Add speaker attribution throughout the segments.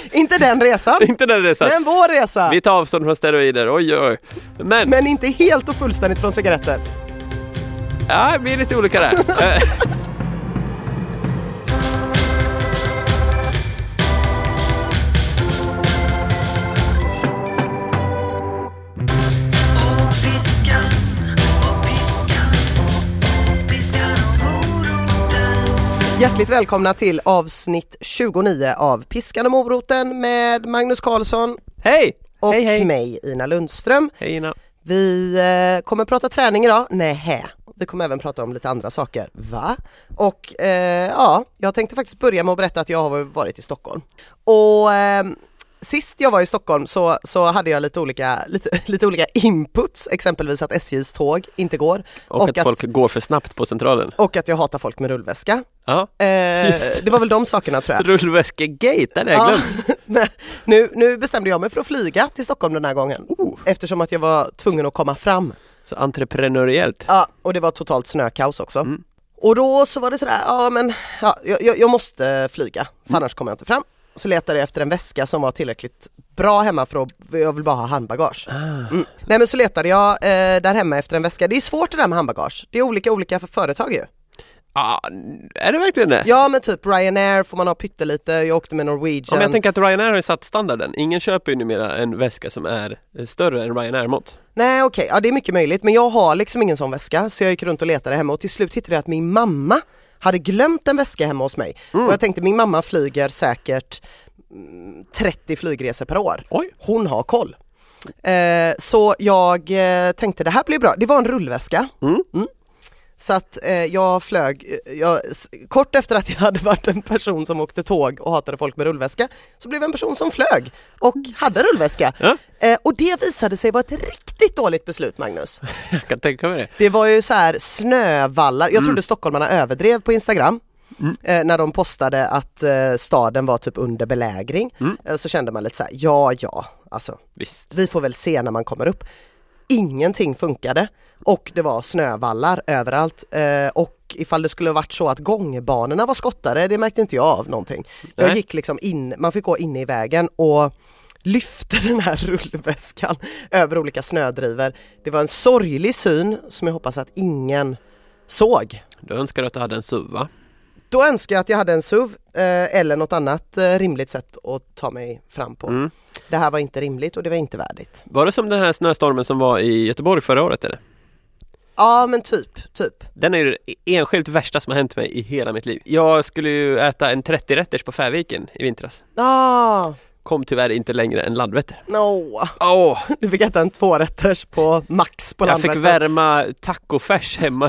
Speaker 1: Inte den resan.
Speaker 2: Inte den resan.
Speaker 1: Men vår resa.
Speaker 2: Vi tar avstånd från steroider, oj oj. Men,
Speaker 1: Men inte helt och fullständigt från cigaretter.
Speaker 2: ja, vi är lite olika där. Eh,
Speaker 1: Hjärtligt välkomna till avsnitt 29 av Piskan och moroten med Magnus Karlsson
Speaker 2: hej!
Speaker 1: och
Speaker 2: hej hej!
Speaker 1: mig Ina Lundström.
Speaker 2: Hej Ina.
Speaker 1: Vi eh, kommer prata träning idag. Nej. Vi kommer även prata om lite andra saker. Va? Och eh, ja, jag tänkte faktiskt börja med att berätta att jag har varit i Stockholm. Och eh, sist jag var i Stockholm så, så hade jag lite olika, lite, lite olika inputs, exempelvis att SJs tåg inte går
Speaker 2: Och, att, folk går för snabbt på Centralen.
Speaker 1: och att jag hatar folk med rullväska.
Speaker 2: Ja.
Speaker 1: Eh,
Speaker 2: Just det.
Speaker 1: det var väl de sakerna tror jag.
Speaker 2: Rullväskegate, det hade jag glömt.
Speaker 1: Ja. Nej, nu, nu bestämde jag mig för att flyga till Stockholm den här gången eftersom att jag var tvungen att komma fram.
Speaker 2: Oh, Så entreprenöriellt.
Speaker 1: Ja, och det var totalt snökaos också.
Speaker 2: Mm.
Speaker 1: Och då så var det sådär, ja men ja, jag, jag jag måste flyga för
Speaker 2: Mm.
Speaker 1: annars kommer jag inte fram. Så letade jag efter en väska som var tillräckligt bra hemma för att jag vill bara ha handbagage.
Speaker 2: Ah.
Speaker 1: Mm. Nej men så letade jag eh, där hemma efter en väska. Det är svårt det där med handbagage. Det är olika olika för företag
Speaker 2: Äh.
Speaker 1: ju.
Speaker 2: Ja, är det verkligen det?
Speaker 1: Ja men typ Ryanair får man ha pyttelite, jag åkte med
Speaker 2: Om
Speaker 1: Norwegian.
Speaker 2: jag tänker att Ryanair har ju satt standarden. Ingen köper ju numera en väska som är eh, större än Ryanair-mått.
Speaker 1: Nej okej, ja det är mycket möjligt men jag har liksom ingen sån väska så jag gick runt och letade hemma och till slut hittade jag att min mamma hade glömt en väska hemma hos mig. Och jag tänkte min mamma flyger säkert mm, 30 flygresor per år.
Speaker 2: Oj.
Speaker 1: Hon har koll. Eh, så jag eh, tänkte det här blir bra. Det var en rullväska. Mm. Så att eh, jag flög, eh, jag, s- kort efter att jag hade varit en person som åkte tåg och hatade folk med rullväska så blev jag en person som flög och hade rullväska.
Speaker 2: Ja.
Speaker 1: Eh, och det visade sig vara ett riktigt dåligt beslut Magnus.
Speaker 2: Jag kan tänka mig det.
Speaker 1: Det var ju så här snövallar, jag trodde stockholmarna överdrev på Instagram. Eh, när de postade att eh, staden var typ under belägring eh, så kände man lite så här, ja ja, alltså
Speaker 2: Visst.
Speaker 1: vi får väl se när man kommer upp. Ingenting funkade och det var snövallar överallt eh, och ifall det skulle varit så att gångbanorna var skottade, det märkte inte jag av någonting. Jag
Speaker 2: Nej.
Speaker 1: gick liksom in, man fick gå inne i vägen och lyfte den här rullväskan över olika snödrivor. Det var en sorglig syn som jag hoppas att ingen såg.
Speaker 2: Du önskar att du hade en SUV va?
Speaker 1: Då önskar jag att jag hade en SUV eh, eller något annat eh, rimligt sätt att ta mig fram på.
Speaker 2: Mm.
Speaker 1: Det här var inte rimligt och det var inte värdigt.
Speaker 2: Var det som den här snöstormen som var i Göteborg förra året eller?
Speaker 1: Ja men typ, typ.
Speaker 2: Den är ju det enskilt värsta som har hänt mig i hela mitt liv. Jag skulle ju äta en 30-rätters på Färviken i vintras.
Speaker 1: Ah,
Speaker 2: Kom tyvärr inte längre än Landvetter.
Speaker 1: no.
Speaker 2: Åh,
Speaker 1: Du fick äta en tvårätters på Max på
Speaker 2: jag fick
Speaker 1: Landvetter.
Speaker 2: värma tacofärs hemma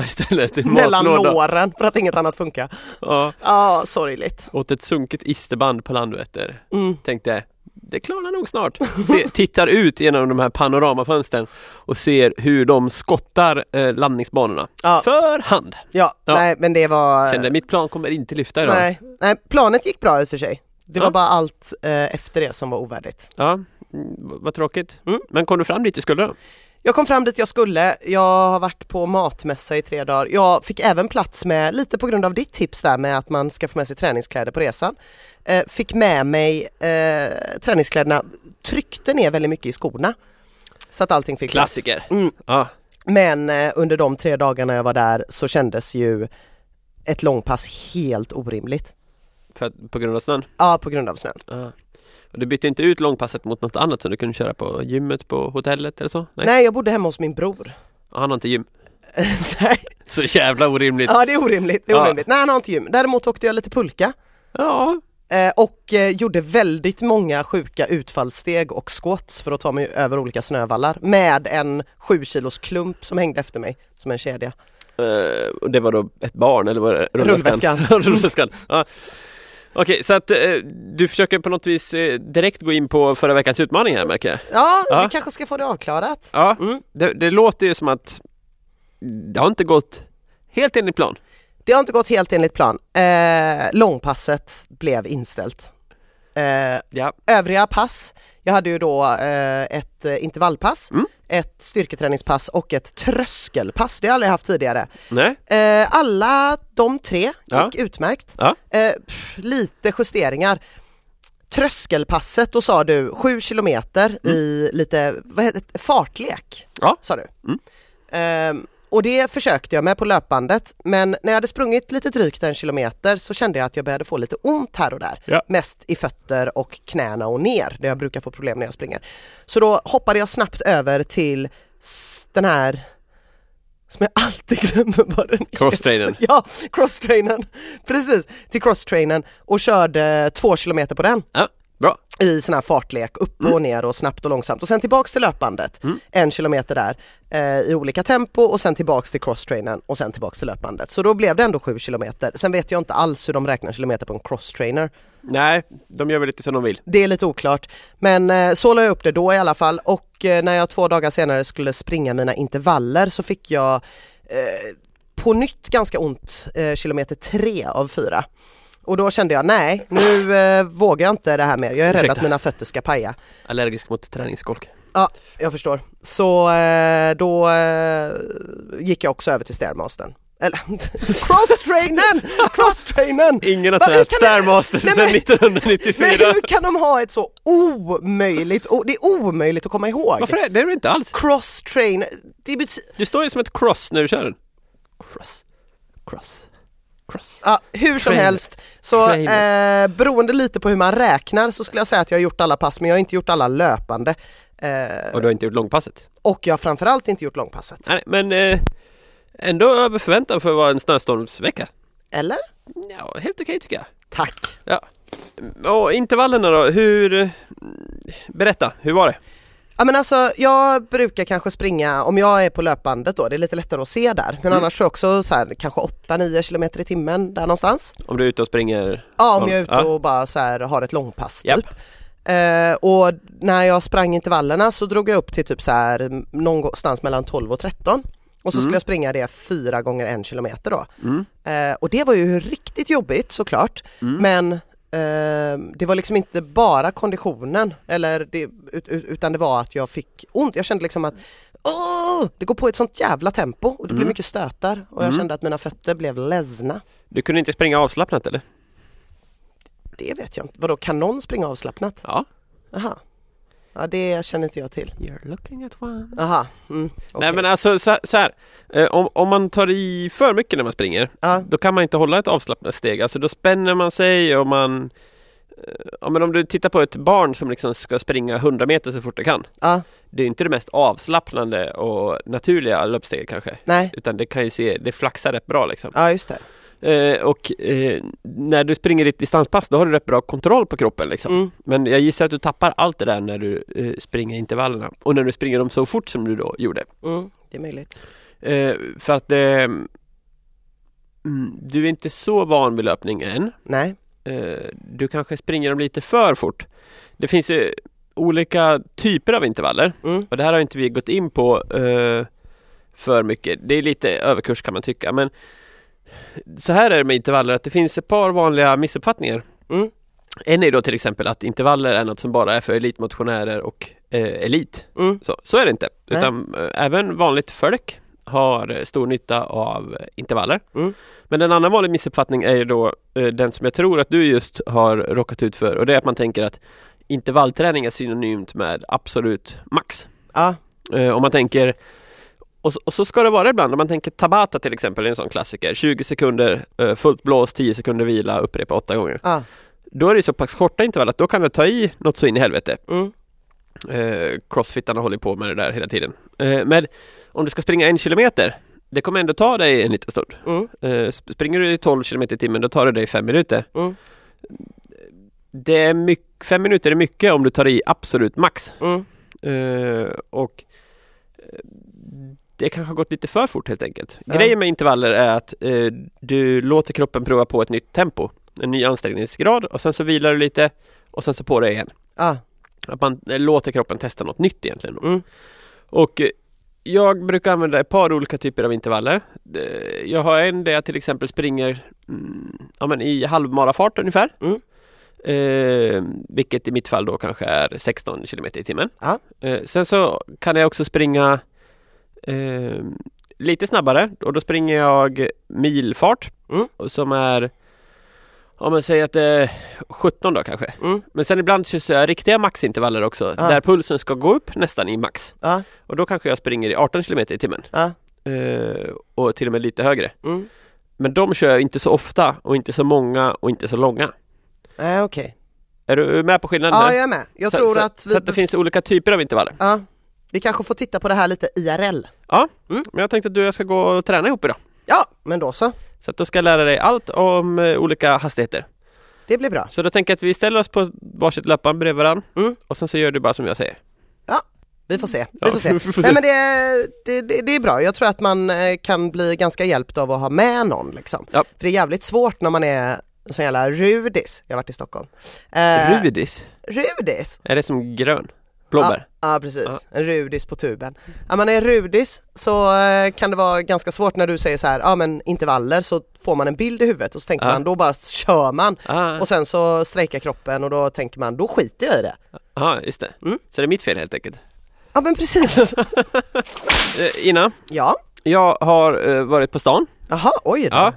Speaker 2: istället i
Speaker 1: Mellan
Speaker 2: matlådan.
Speaker 1: låren för att inget annat funkar. Ja,
Speaker 2: Ja,
Speaker 1: ah, sorgligt.
Speaker 2: åt ett sunkigt isterband på Landvetter.
Speaker 1: Mm.
Speaker 2: Tänkte, det klarar nog snart. Se, tittar ut genom de här panoramafönstren och ser hur de skottar eh, landningsbanorna.
Speaker 1: Ja.
Speaker 2: För hand.
Speaker 1: Ja,
Speaker 2: Ja.
Speaker 1: nej men det var...
Speaker 2: Kände, mitt plan kommer inte lyfta idag.
Speaker 1: nej. nej, planet gick bra i och för sig. Det
Speaker 2: Ja.
Speaker 1: var bara allt eh, efter det som var ovärdigt.
Speaker 2: Ja, mm, v- vad tråkigt.
Speaker 1: Mm.
Speaker 2: Men kom du fram dit du skulle då?
Speaker 1: Jag kom fram dit jag skulle, jag har varit på matmässa i tre dagar. Jag fick även plats med, lite på grund av ditt tips där med att man ska få med sig träningskläder på resan. Eh, fick med mig eh, träningskläderna, tryckte ner väldigt mycket i skorna. Så att allting fick plats.
Speaker 2: Klassiker.
Speaker 1: Mm.
Speaker 2: Ja,
Speaker 1: Men eh, under de tre dagarna jag var där så kändes ju ett långpass helt orimligt.
Speaker 2: för att, på grund av snön.
Speaker 1: Ja, på grund av snön.
Speaker 2: Ja. Och du bytte inte ut långpasset mot något annat som du kunde köra på gymmet, på hotellet eller så? Ah,
Speaker 1: Nej, jag bodde hemma hos min bror.
Speaker 2: Han har inte gym.
Speaker 1: Nej,
Speaker 2: Så jävla orimligt. Ja,
Speaker 1: ja det är orimligt. Det är
Speaker 2: Ja.
Speaker 1: orimligt. Nej, han har inte gym. Däremot åkte jag lite pulka. Eh, och eh, gjorde väldigt många sjuka utfallssteg och squats för att ta mig över olika snövallar med en 7 kilos klump som hängde efter mig som en kedja.
Speaker 2: Eh, och det var då ett barn eller var det
Speaker 1: Rullväskan.
Speaker 2: Rullväskan. Ja. Okej, så att eh, du försöker på något vis eh, direkt gå in på förra veckans utmaning här märker jag.
Speaker 1: Ja,
Speaker 2: Ja.
Speaker 1: vi kanske ska få det avklarat.
Speaker 2: Ja,
Speaker 1: Mm.
Speaker 2: det, det låter ju som att det har inte gått helt enligt plan.
Speaker 1: Det har inte gått helt enligt plan. Eh, långpasset blev inställt. Eh,
Speaker 2: Ja.
Speaker 1: övriga pass, jag hade ju då eh, ett eh, intervallpass,
Speaker 2: Mm.
Speaker 1: ett styrketräningspass och ett tröskelpass. Det har jag aldrig haft tidigare.
Speaker 2: Nej.
Speaker 1: Eh, alla de tre gick
Speaker 2: Ja.
Speaker 1: utmärkt.
Speaker 2: Ja.
Speaker 1: Eh, pff, lite justeringar. tröskelpasset, då sa du 7 kilometer i lite vad heter, det? fartlek.
Speaker 2: Mm. Ja.
Speaker 1: Sa du.
Speaker 2: Mm.
Speaker 1: Ehm, och det försökte jag med på löpbandet men när jag hade sprungit lite drygt en kilometer så kände jag att jag började få lite ont här och där.
Speaker 2: Ja.
Speaker 1: Mest i fötter och knäna och ner där jag brukar få problem när jag springer. Så då hoppade jag snabbt över till s- den här som jag alltid glömmer vad den heter.
Speaker 2: Crosstrainern.
Speaker 1: Ja, crosstrainern. Precis, till crosstrainern och körde två kilometer på den
Speaker 2: Ja, bra.
Speaker 1: i sån här fartlek, upp och ner och snabbt och långsamt och sen tillbaks till löpandet, en kilometer där eh, i olika tempo och sen tillbaks till crosstrainern och sen tillbaks till löpandet. Så då blev det ändå sju kilometer. Sen vet jag inte alls hur de räknar kilometer på en crosstrainer.
Speaker 2: Nej, de gör väl lite som de vill.
Speaker 1: Det är lite oklart men eh, så la jag upp det då i alla fall och eh, när jag två dagar senare skulle springa mina intervaller så fick jag eh, på nytt ganska ont eh, kilometer tre av fyra. Och då kände jag nej, nu eh, vågar jag inte det här mer. Jag är rädd
Speaker 2: Ursäkta.
Speaker 1: att mina fötter ska paja.
Speaker 2: Allergisk mot träningsskolk.
Speaker 1: Ja, jag förstår. Så eh, då eh, gick jag också över till Stairmastern. Eller crosstrainern! Crosstrainern!
Speaker 2: Ingen har
Speaker 1: Va, hur
Speaker 2: tränat
Speaker 1: kan det-
Speaker 2: Stairmaster
Speaker 1: Nej, men-
Speaker 2: sedan 1994.
Speaker 1: Men hur kan de ha ett så omöjligt, o- det är omöjligt att komma ihåg.
Speaker 2: Varför är det? Det är det inte alls.
Speaker 1: Crosstrainer, det betyder,
Speaker 2: Du står ju som ett cross när du kör den. Cross. Cross. Cross.
Speaker 1: ja, hur som
Speaker 2: Trainer.
Speaker 1: helst. Så
Speaker 2: Trainer.
Speaker 1: eh, beroende lite på hur man räknar så skulle jag säga att jag har gjort alla pass men jag har inte gjort alla löpande. Eh,
Speaker 2: Och du har inte gjort långpasset.
Speaker 1: och jag har framförallt inte gjort långpasset.
Speaker 2: Nej, men eh, ändå över förväntan för att vara en snöstormsvecka.
Speaker 1: Eller?
Speaker 2: Ja, helt okej tycker jag.
Speaker 1: Tack!
Speaker 2: Mm, Och intervallerna då, hur... eh, Berätta, hur var det?
Speaker 1: Ja men alltså jag brukar kanske springa, om jag är på löpbandet då, det är lite lättare att se där.
Speaker 2: Mm.
Speaker 1: Men annars så också så här, kanske 8-9 kilometer i timmen där någonstans.
Speaker 2: Om du är ute och springer...
Speaker 1: Ja om
Speaker 2: Ja.
Speaker 1: jag är ute och bara så här, har ett långpass
Speaker 2: Japp.
Speaker 1: typ. Eh, och när jag sprang intervallerna så drog jag upp till typ så här m- någonstans mellan 12 och 13. Och så skulle jag springa det fyra gånger en kilometer då.
Speaker 2: Mm.
Speaker 1: Eh, och det var ju riktigt jobbigt såklart. Men eh, det var liksom inte bara konditionen eller det, ut, ut, utan det var att jag fick ont. Jag kände liksom att Åh, det går på ett sånt jävla tempo och det
Speaker 2: Mm.
Speaker 1: blir mycket stötar och jag kände att mina fötter blev ledsna.
Speaker 2: Du kunde inte springa avslappnat eller?
Speaker 1: Det vet jag inte. Vadå, kan någon springa avslappnat?
Speaker 2: Ja.
Speaker 1: Aha. Ja det känner inte jag till.
Speaker 2: You're looking at one.
Speaker 1: Aha. Mm. okej.
Speaker 2: Nej men alltså så, så här. Eh, om, om man tar i för mycket när man springer
Speaker 1: Ja.
Speaker 2: då kan man inte hålla ett avslappnat steg. Alltså då spänner man sig och man... eh, Ja, men om du tittar på ett barn som liksom ska springa 100 meter så fort det kan.
Speaker 1: Ja,
Speaker 2: Det är inte det mest avslappnande och naturliga löpsteget kanske.
Speaker 1: nej.
Speaker 2: Utan det kan ju se, det flaxar rätt bra liksom.
Speaker 1: Ja just det.
Speaker 2: Eh, och eh, när du springer ditt distanspass då har du rätt bra kontroll på kroppen liksom.
Speaker 1: Mm.
Speaker 2: Men jag gissar att du tappar allt det där när du eh, springer intervallerna. Och när du springer dem så fort som du då gjorde.
Speaker 1: Mm. Det är möjligt.
Speaker 2: Eh, för att eh, mm, du är inte så van vid löpning än.
Speaker 1: Nej.
Speaker 2: Eh, du kanske springer dem lite för fort. Det finns ju olika typer av intervaller
Speaker 1: Mm.
Speaker 2: och det här har inte vi gått in på eh, för mycket. Det är lite överkurs kan man tycka men så här är det med intervaller att det finns ett par vanliga missuppfattningar.
Speaker 1: Mm.
Speaker 2: En är då till exempel att intervaller är något som bara är för elitmotionärer och eh, elit.
Speaker 1: Mm.
Speaker 2: Så, så är det inte.
Speaker 1: Nej.
Speaker 2: Utan eh, även vanligt folk har eh, stor nytta av eh, intervaller.
Speaker 1: Mm.
Speaker 2: Men en annan vanlig missuppfattning är ju då eh, den som jag tror att du just har råkat ut för och det är att man tänker att intervallträning är synonymt med absolut max.
Speaker 1: Ja.
Speaker 2: Eh, Om man tänker och så, och så ska det vara ibland om man tänker Tabata till exempel, är en sån klassiker. 20 sekunder eh, fullt blås, 10 sekunder vila, upprepa åtta gånger.
Speaker 1: Ja.
Speaker 2: Då är det så pass korta intervall att då kan du ta i något så in i helvete.
Speaker 1: Mm.
Speaker 2: Eh, crossfittarna håller på med det där hela tiden. Eh, men om du ska springa en kilometer, det kommer ändå ta dig en liten stund.
Speaker 1: Mm.
Speaker 2: Eh, sp- springer du i 12 kilometer i timmen, då tar det dig fem minuter.
Speaker 1: Mm.
Speaker 2: Det är mycket, fem minuter är mycket om du tar i absolut max.
Speaker 1: Mm.
Speaker 2: Eh, och eh, det kanske har gått lite för fort helt enkelt.
Speaker 1: Ja.
Speaker 2: Grejen med intervaller är att eh, du låter kroppen prova på ett nytt tempo, en ny ansträngningsgrad och sen så vilar du lite och sen så på dig igen.
Speaker 1: Ja.
Speaker 2: Att man eh, låter kroppen testa något nytt egentligen.
Speaker 1: Mm.
Speaker 2: Och eh, jag brukar använda ett par olika typer av intervaller. Eh, Jag har en där jag till exempel springer mm, ja, men i halvmarafart ungefär.
Speaker 1: Mm.
Speaker 2: Eh, vilket i mitt fall då kanske är 16 kilometer i timmen.
Speaker 1: Ja.
Speaker 2: Eh, sen så kan jag också springa eh, lite snabbare och då springer jag milfart
Speaker 1: Mm.
Speaker 2: och som är ja, Ja men säg att eh, 17 då kanske.
Speaker 1: Mm.
Speaker 2: Men sen ibland så kör jag riktiga maxintervaller också
Speaker 1: Ja.
Speaker 2: där pulsen ska gå upp nästan i max.
Speaker 1: Ja,
Speaker 2: Och då kanske jag springer i 18 km i timmen.
Speaker 1: ja,
Speaker 2: Eh, och till och med lite högre.
Speaker 1: mm.
Speaker 2: Men de kör jag inte så ofta och inte så många och inte så långa.
Speaker 1: Nej, Eh, okej.
Speaker 2: Är du med på skillnaden?
Speaker 1: Ja,
Speaker 2: där?
Speaker 1: jag är med. Jag
Speaker 2: så,
Speaker 1: tror
Speaker 2: så,
Speaker 1: att
Speaker 2: Så att det
Speaker 1: vi...
Speaker 2: finns olika typer av intervaller.
Speaker 1: Ja, vi kanske får titta på det här lite IRL.
Speaker 2: Men jag tänkte att du och jag ska gå och träna ihop idag.
Speaker 1: Ja, men då så.
Speaker 2: Så att då ska jag lära dig allt om eh, olika hastigheter.
Speaker 1: Det blir bra.
Speaker 2: Så då tänker jag att vi ställer oss på varsitt löpband bredvid varandra
Speaker 1: Mm.
Speaker 2: och sen så gör du bara som jag säger.
Speaker 1: Vi får se. Vi
Speaker 2: Ja,
Speaker 1: får se.
Speaker 2: vi får se.
Speaker 1: Nej, men det, det, det, det är bra. Jag tror att man eh, kan bli ganska hjälpt av att ha med någon. Liksom.
Speaker 2: Ja.
Speaker 1: För det är jävligt svårt när man är en sån jävla rudis. Jag har varit i Stockholm. Eh,
Speaker 2: Rudis,
Speaker 1: rudis?
Speaker 2: är det som grön? Blåbär?
Speaker 1: Ja precis, en rudis på tuben. Ja man är rudis så eh, kan det vara ganska svårt när du säger så här, ja men intervaller så får man en bild i huvudet och så tänker
Speaker 2: Ja.
Speaker 1: man då bara kör man
Speaker 2: Ah,
Speaker 1: och sen så strejkar kroppen och då tänker man då skiter jag i det.
Speaker 2: ah, just det.
Speaker 1: Mm.
Speaker 2: Så det är mitt fel helt enkelt.
Speaker 1: Ja men precis.
Speaker 2: Eh, Ina,
Speaker 1: ja,
Speaker 2: jag har eh, varit på stan.
Speaker 1: jaha oj då.
Speaker 2: Ja.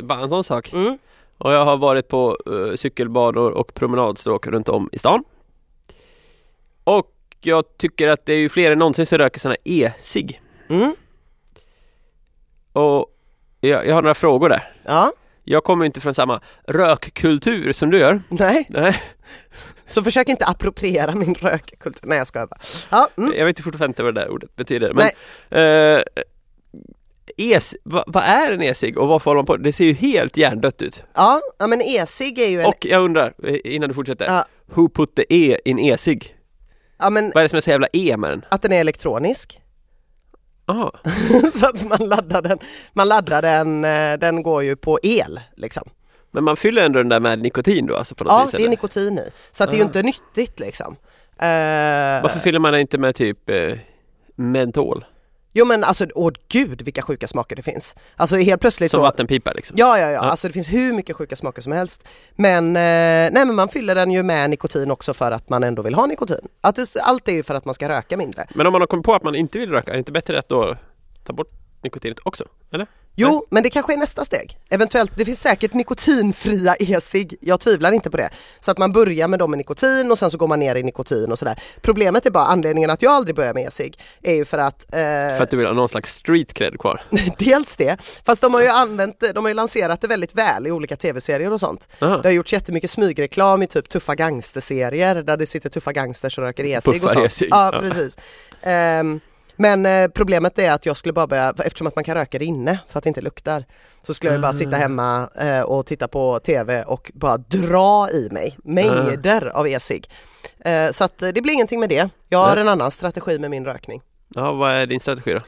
Speaker 2: Bara en sån sak.
Speaker 1: Mm.
Speaker 2: Och jag har varit på eh, cykelbanor och promenadstråk runt om i stan. Och jag tycker att det är ju fler än någonsin som röker såna e-cigg.
Speaker 1: Mm.
Speaker 2: Och jag, jag har några frågor där.
Speaker 1: Ja,
Speaker 2: Jag kommer ju inte från samma rökkultur som du gör.
Speaker 1: nej.
Speaker 2: Nej,
Speaker 1: Så försök inte appropriera min rökkultur. Nej jag skojar bara. Ja, mm.
Speaker 2: jag vet ju fortfarande inte vad det där ordet betyder. Men,
Speaker 1: Nej.
Speaker 2: eh, es, vad, vad är en e-cigg och varför håller man på? Det ser ju helt hjärndött ut.
Speaker 1: ja ja, men e-cigg är ju en...
Speaker 2: Och jag undrar, eh, innan du fortsätter,
Speaker 1: Ja.
Speaker 2: who put the e in e-cigg?
Speaker 1: Ja men
Speaker 2: Vad är det som är så jävla e med den? Ah,
Speaker 1: att den är elektronisk.
Speaker 2: Aha.
Speaker 1: så att man laddar den, man laddar den, eh, den går ju på el liksom.
Speaker 2: Men man fyller ändå den där med nikotin då alltså på något
Speaker 1: Ja,
Speaker 2: vis?
Speaker 1: det är
Speaker 2: eller?
Speaker 1: nikotin i. Så att det är ju
Speaker 2: Ah.
Speaker 1: inte nyttigt liksom. Eh,
Speaker 2: Varför fyller man den inte med typ eh, mentol?
Speaker 1: Jo men alltså, åh gud vilka sjuka smaker det finns. Alltså helt plötsligt
Speaker 2: Som
Speaker 1: så-
Speaker 2: vattenpipa liksom?
Speaker 1: Ja, ja, ja,
Speaker 2: Ja.
Speaker 1: alltså det finns hur mycket sjuka smaker som helst. Men, eh, nej men man fyller den ju med nikotin också för att man ändå vill ha nikotin. Att det, allt är ju för att man ska röka mindre.
Speaker 2: Men om man har kommit på att man inte vill röka, är det inte bättre att då ta bort nikotinet också? Eller?
Speaker 1: Jo,
Speaker 2: Nej.
Speaker 1: men det kanske är nästa steg. Eventuellt, det finns säkert nikotinfria e-cigg. Jag tvivlar inte på det. Så att man börjar med dem med nikotin och sen så går man ner i nikotin och sådär. Problemet är bara anledningen att jag aldrig börjar med e-cigg är ju för att, eh,
Speaker 2: För att du vill ha någon slags street cred kvar?
Speaker 1: dels det, fast de har ju använt, det- de har ju lanserat det väldigt väl i olika tv-serier och sånt.
Speaker 2: Aha.
Speaker 1: Det har gjorts jättemycket smygreklam i typ tuffa gangsterserier där det sitter tuffa gangsters och röker e-cigg och
Speaker 2: Puffar
Speaker 1: sånt.
Speaker 2: e-cigg,
Speaker 1: Ja,
Speaker 2: ja.
Speaker 1: precis. Ehm, men eh, problemet är att jag skulle bara börja, eftersom att man kan röka det inne för att det inte luktar, så skulle jag ju bara sitta hemma eh, och titta på tv och bara dra i mig mängder av e-cigg. Eh, så att eh, det blir ingenting med det. Jag har
Speaker 2: Nej.
Speaker 1: en annan strategi med min rökning.
Speaker 2: Ja, vad är din strategi då?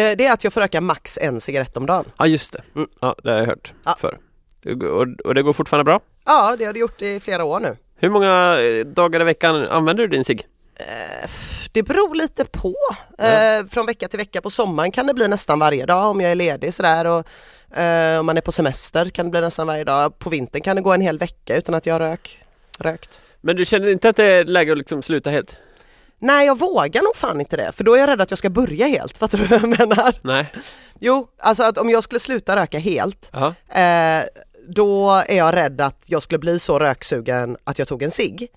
Speaker 1: Eh, det är att jag får röka max en cigarett om dagen.
Speaker 2: Ja, just det.
Speaker 1: Mm.
Speaker 2: Ja, det har jag hört
Speaker 1: Ja.
Speaker 2: förr. Det går- Och, och det går fortfarande bra?
Speaker 1: Ja, det har det gjort i flera år nu.
Speaker 2: Hur många eh, dagar i veckan använder du din cigg?
Speaker 1: Eh, f- Det beror lite på.
Speaker 2: Ja.
Speaker 1: Eh, Från vecka till vecka. På sommaren kan det bli nästan varje dag om jag är ledig sådär. Och, eh, om man är på semester kan det bli nästan varje dag. På vintern kan det gå en hel vecka utan att jag har rök, rökt.
Speaker 2: Men du känner inte att det är läge att liksom sluta helt?
Speaker 1: Nej jag vågar nog fan inte det för då är jag rädd att jag ska börja helt. Fattar du vad jag menar?
Speaker 2: Nej?
Speaker 1: Jo, alltså att om jag skulle sluta röka helt
Speaker 2: Ja.
Speaker 1: eh, då är jag rädd att jag skulle bli så röksugen att jag tog en cigg.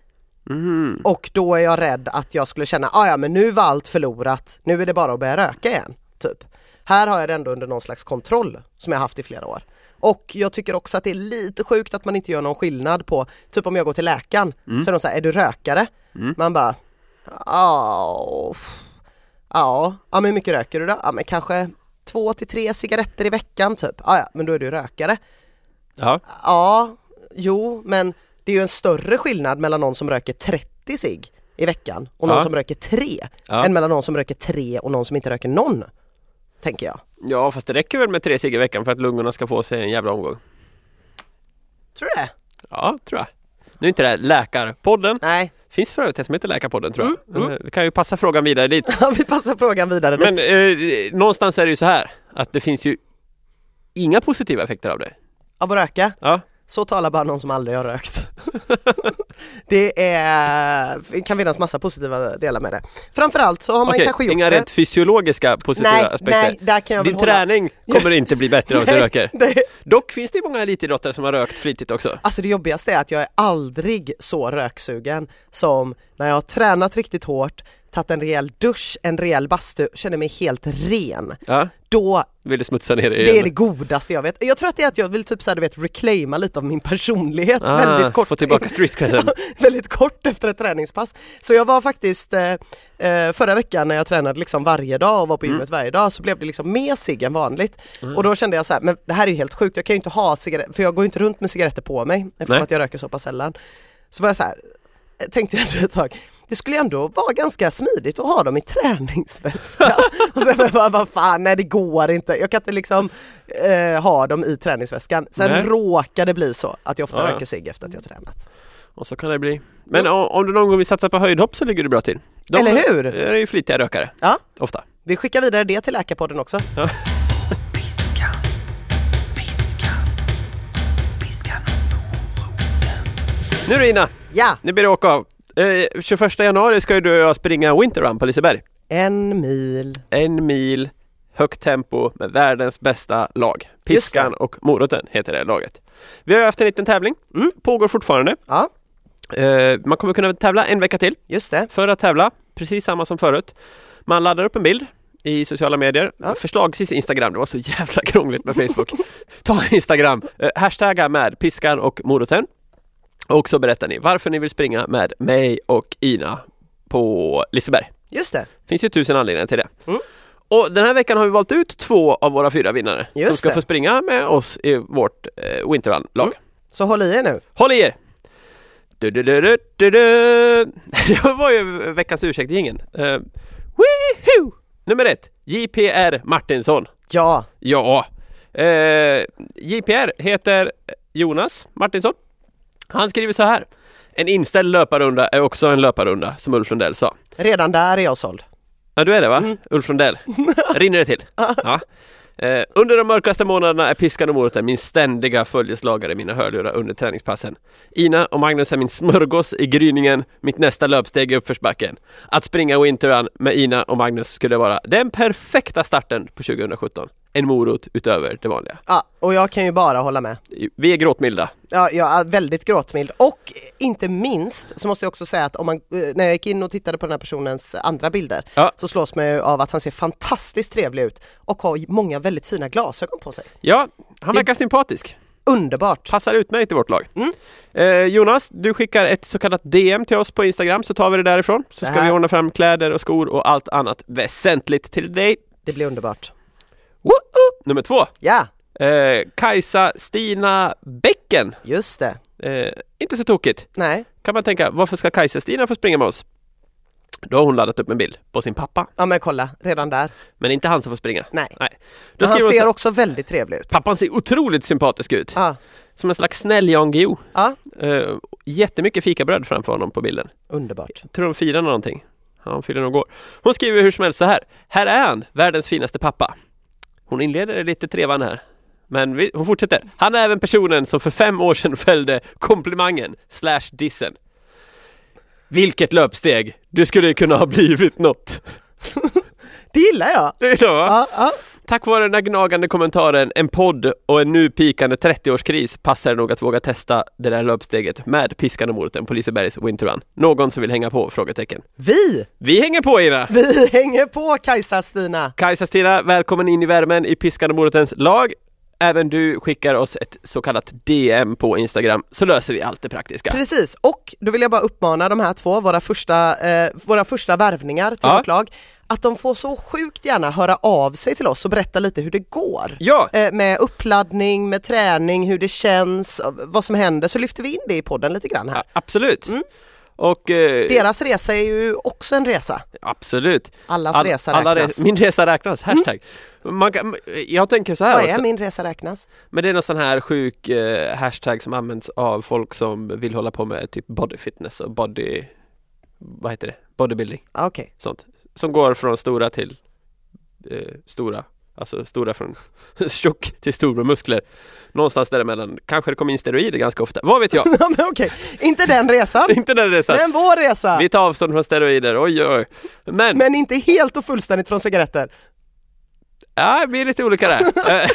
Speaker 2: Mhm.
Speaker 1: Och då är jag rädd att jag skulle känna, ah, ja men nu var allt förlorat, nu är det bara att börja röka igen. Typ. Här har jag det ändå under någon slags kontroll som jag haft i flera år. Och jag tycker också att det är lite sjukt att man inte gör någon skillnad på, typ om jag går till läkaren, så är de så här, är du rökare? Man bara, ja, pff, ja, ja men hur mycket röker du då? Ja men kanske två till tre cigaretter i veckan typ. Ja ja, men då är du rökare.
Speaker 2: Ja.
Speaker 1: Ja, jo, men det är ju en större skillnad mellan någon som röker 30 cigg i veckan och någon
Speaker 2: Ja.
Speaker 1: som röker 3
Speaker 2: Ja.
Speaker 1: än mellan någon som röker 3 och någon som inte röker någon. Tänker jag.
Speaker 2: ja, fast det räcker väl med tre cigg i veckan för att lungorna ska få sig en jävla omgång?
Speaker 1: Tror du det?
Speaker 2: Ja, tror jag. Nu är inte det här Läkarpodden.
Speaker 1: Nej,
Speaker 2: Finns för övrigt en som heter Läkarpodden tror jag.
Speaker 1: Mm,
Speaker 2: Eh, Vi kan ju passa frågan vidare dit.
Speaker 1: vi passar frågan vidare.
Speaker 2: Men eh, någonstans är det ju så här att det finns ju inga positiva effekter av det.
Speaker 1: Av att röka?
Speaker 2: Ja.
Speaker 1: Så talar bara någon som aldrig har rökt. det är, det kan finnas massa positiva delar med det. Framförallt så har man
Speaker 2: Okej,
Speaker 1: kanske gjort
Speaker 2: inga
Speaker 1: det.
Speaker 2: rent fysiologiska positiva
Speaker 1: nej,
Speaker 2: aspekter.
Speaker 1: nej, där kan jag väl
Speaker 2: Din
Speaker 1: hålla.
Speaker 2: träning kommer inte bli bättre om du
Speaker 1: Nej,
Speaker 2: röker.
Speaker 1: det-
Speaker 2: Dock finns det ju många elitidrottare som har rökt flitigt också.
Speaker 1: Alltså det jobbigaste är att jag är aldrig så röksugen som när jag har tränat riktigt hårt, tagit en rejäl dusch, en rejäl bastu, känner mig helt ren.
Speaker 2: Ja,
Speaker 1: Då,
Speaker 2: vill du smutsa ner dig
Speaker 1: det är det
Speaker 2: igen?
Speaker 1: godaste jag vet. Jag tror att det är att jag vill typ såhär du vet reclaima lite av min personlighet väldigt kort.
Speaker 2: Ah, Få tillbaka street credden.
Speaker 1: väldigt kort efter ett träningspass. Så jag var faktiskt eh, eh, förra veckan när jag tränade liksom varje dag och var
Speaker 2: Mm.
Speaker 1: på gymmet varje dag så blev det liksom mer cigg än vanligt. Och då kände jag så här, men det här är ju helt sjukt, jag kan ju inte ha cigaretter, för jag går ju inte runt med cigaretter på mig eftersom
Speaker 2: Nej.
Speaker 1: att jag röker så pass sällan. Så var jag så här, eh, tänkte jag ändå ett tag, det skulle ändå vara ganska smidigt att ha dem i träningsväskan. och så jag bara, vad fan, nej det går inte. Jag kan inte liksom eh, ha dem i träningsväskan. Sen
Speaker 2: Nej.
Speaker 1: råkar det bli så att jag ofta
Speaker 2: Ja, ja.
Speaker 1: röker cigg efter att jag tränat.
Speaker 2: Och så kan det bli. Men o- om du någon gång vill satsa på höjdhopp så ligger du bra till. De
Speaker 1: Eller hur?
Speaker 2: är ju flitiga rökare,
Speaker 1: Ja.
Speaker 2: ofta.
Speaker 1: Vi skickar vidare det till Läkarpodden också.
Speaker 3: Piska, piska, piska någon moroten.
Speaker 2: Nu Rina,
Speaker 1: Ja,
Speaker 2: nu blir det åka av. Eh, 21 januari ska ju du och jag springa Winter Run på Liseberg.
Speaker 1: en mil.
Speaker 2: En mil, högt tempo med världens bästa lag. Piskan och moroten heter det laget. Vi har ju haft en liten tävling,
Speaker 1: Mm.
Speaker 2: pågår fortfarande.
Speaker 1: Ja,
Speaker 2: Eh, man kommer kunna tävla en vecka till.
Speaker 1: just det.
Speaker 2: För att tävla, precis samma som förut. Man laddar upp en bild i sociala medier,
Speaker 1: Ja.
Speaker 2: förslagsvis Instagram, det var så jävla krångligt med Facebook. Ta Instagram, eh, hashtagga med piskan och moroten. Och så berättar ni varför ni vill springa med mig och Ina på Liseberg.
Speaker 1: Just det.
Speaker 2: Finns ju tusen anledningar till det.
Speaker 1: Mm.
Speaker 2: Och den här veckan har vi valt ut två av våra fyra vinnare som
Speaker 1: Just
Speaker 2: ska
Speaker 1: det.
Speaker 2: få springa med oss i vårt eh, Winter Run-lag.
Speaker 1: Så håll i er nu.
Speaker 2: Håll i er! Du, du, du, du, du, du. Det var ju veckans ursäkt ingen. Uh, woohoo! Nummer ett, JPR Martinsson.
Speaker 1: Ja,
Speaker 2: Ja, eh, JPR heter Jonas Martinsson. Han skriver så här. En inställd löparrunda är också en löparrunda, som Ulf Lundell sa.
Speaker 1: redan där är jag såld.
Speaker 2: Ja, du är det va? Ulf Lundell. Rinner det till? Ja. Eh, under de mörkaste månaderna är piskan och moroten min ständiga följeslagare i mina hörlurar under träningspassen. Ina och Magnus är min smörgås i gryningen, mitt nästa löpsteg i uppförsbacken. Att springa Winterrun med Ina och Magnus skulle vara den perfekta starten på 2017. En morot utöver det vanliga.
Speaker 1: Ja, och jag kan ju bara hålla med.
Speaker 2: Vi är gråtmilda.
Speaker 1: Ja, jag är väldigt gråtmild och inte minst så måste jag också säga att om man, eh, när jag gick in och tittade på den här personens andra bilder
Speaker 2: Ja.
Speaker 1: så slås man ju av att han ser fantastiskt trevlig ut och har många väldigt fina glasögon på sig.
Speaker 2: Ja, han verkar sympatisk.
Speaker 1: Underbart!
Speaker 2: Passar utmärkt i vårt lag.
Speaker 1: Mm.
Speaker 2: Eh, Jonas, du skickar ett så kallat DM till oss på Instagram så tar vi det därifrån. Så
Speaker 1: Det
Speaker 2: ska
Speaker 1: här-
Speaker 2: vi ordna fram kläder och skor och allt annat väsentligt till dig.
Speaker 1: Det blir underbart.
Speaker 2: Woho! Nummer två,
Speaker 1: Ja,
Speaker 2: eh, Kajsa Stina Bäcken.
Speaker 1: just det.
Speaker 2: Eh, inte så tokigt.
Speaker 1: Nej,
Speaker 2: Kan man tänka, varför ska Kajsa Stina få springa med oss? Då har hon laddat upp en bild på sin pappa,
Speaker 1: ja men kolla, redan där.
Speaker 2: men inte han som får springa.
Speaker 1: Nej.
Speaker 2: Nej. Då
Speaker 1: Men han
Speaker 2: skriver hon
Speaker 1: ser
Speaker 2: så,
Speaker 1: också väldigt trevlig ut.
Speaker 2: pappan ser otroligt sympatisk ut.
Speaker 1: Ja,
Speaker 2: Som en slags snäll Jan Guillou.
Speaker 1: ja.
Speaker 2: Eh, jättemycket fikabröd framför honom på bilden.
Speaker 1: underbart.
Speaker 2: tror de firar någonting. Han fyller nog år. Hon skriver hur som helst så här. Här är han, världens finaste pappa. Hon inleder lite trevan här. Men vi, hon fortsätter. Han är även personen som för fem år sedan fällde komplimangen slash dissen. Vilket löpsteg! Du skulle ju kunna ha blivit något.
Speaker 1: Det gillar jag!
Speaker 2: Det är det, va?
Speaker 1: Ja, ja.
Speaker 2: Tack vare den här gnagande kommentaren, en podd och en nu pikande 30-årskris passar det nog att våga testa det där löpsteget med piskan och moroten på Lisebergs Winter Run. Någon som vill hänga på? Frågetecken.
Speaker 1: Vi,
Speaker 2: Vi hänger på Ina!
Speaker 1: vi hänger på Kajsa Stina.
Speaker 2: Kajsa Stina, välkommen in i värmen i Piskan och morotens lag. Även du skickar oss ett så kallat DM på Instagram så löser vi allt det praktiska.
Speaker 1: Precis, och då vill jag bara uppmana de här två, våra första, eh, våra första värvningar till
Speaker 2: Ja.
Speaker 1: vårt lag, att de får så sjukt gärna höra av sig till oss och berätta lite hur det går.
Speaker 2: Ja,
Speaker 1: Eh, med uppladdning, med träning, hur det känns, eh, vad som händer, så lyfter vi in det i podden lite grann här.
Speaker 2: a- absolut. Och eh,
Speaker 1: Deras resa Mm. är ju också en resa.
Speaker 2: absolut.
Speaker 1: Allas
Speaker 2: All-
Speaker 1: Alltså, resa
Speaker 2: alla
Speaker 1: räknas. Mm.
Speaker 2: res- min resa räknas, hashtag. Man kan, jag tänker så här
Speaker 1: Vad är
Speaker 2: också,
Speaker 1: min resa räknas?
Speaker 2: men det är någon sån här sjuk eh, hashtag som används av folk som vill hålla på med typ body fitness och body, vad heter det, bodybuilding,
Speaker 1: Ah, Okej,
Speaker 2: sånt. Som går från stora till eh, stora Alltså stora från tjock till stor med muskler. Någonstans däremellan. Kanske det kom in steroider ganska ofta. Vad vet jag?
Speaker 1: Ja, men okej, inte den resan.
Speaker 2: Inte den resan.
Speaker 1: Men vår resa.
Speaker 2: Vi tar avstånd från steroider. Oj, oj. Men,
Speaker 1: Men inte helt och fullständigt från cigaretter.
Speaker 2: ja, vi är lite olika där. Eh,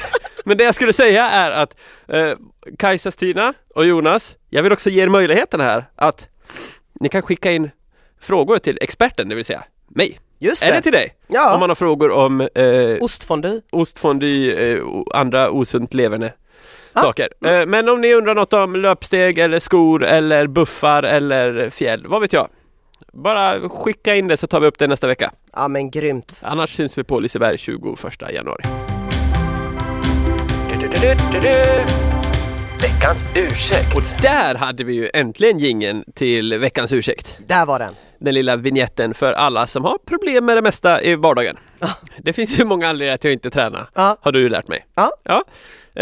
Speaker 2: Men det jag skulle säga är att eh, Kajsa, Stina och Jonas, jag vill också ge er möjligheten här att ni kan skicka in frågor till experten, det vill säga mig.
Speaker 1: Just
Speaker 2: Eller till dig,
Speaker 1: Ja,
Speaker 2: om man har frågor om eh,
Speaker 1: ostfondue.
Speaker 2: ostfondy, eh, och andra osunt leverne
Speaker 1: Ja.
Speaker 2: saker. Eh, men om ni undrar något om löpsteg eller skor eller buffar eller fjäll, vad vet jag? Bara skicka in det så tar vi upp det nästa vecka.
Speaker 1: Ja men grymt.
Speaker 2: Annars syns vi på Liseberg 21 januari.
Speaker 3: Veckans ursäkt.
Speaker 2: Och där hade vi ju äntligen gingen till veckans ursäkt.
Speaker 1: Där var den.
Speaker 2: Den lilla vignetten för alla som har problem med det mesta i vardagen. Det finns ju många anledningar till att inte träna,
Speaker 1: Ja.
Speaker 2: har du ju lärt mig.
Speaker 1: Ja.
Speaker 2: Ja.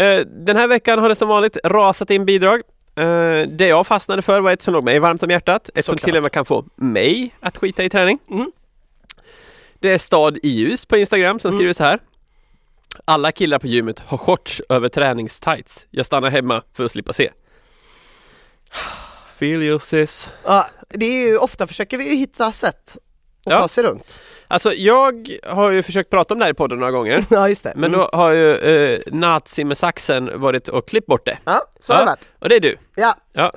Speaker 2: Eh, Den här veckan har det som vanligt rasat in bidrag. Eh, Det jag fastnade för var ett som låg mig varmt om hjärtat. Ett som
Speaker 1: Såklart.
Speaker 2: till och med kan få mig att skita i träning.
Speaker 1: Mm.
Speaker 2: Det är Stad Ius på Instagram
Speaker 1: Mm.
Speaker 2: som skriver så här. Alla killar på gymmet har shorts över träningstights. Jag stannar hemma för att slippa se. Feel your sis.
Speaker 1: Ja, det är ju, ofta försöker vi ju hitta sätt att
Speaker 2: Ja.
Speaker 1: ta sig runt.
Speaker 2: Alltså jag har ju försökt prata om det här i podden några gånger.
Speaker 1: Ja just det.
Speaker 2: Men
Speaker 1: Mm.
Speaker 2: då har ju eh, Nazi med saxen varit och klippt bort det.
Speaker 1: Ja, så har
Speaker 2: Ja.
Speaker 1: det varit.
Speaker 2: Och det är du.
Speaker 1: Ja,
Speaker 2: Ja.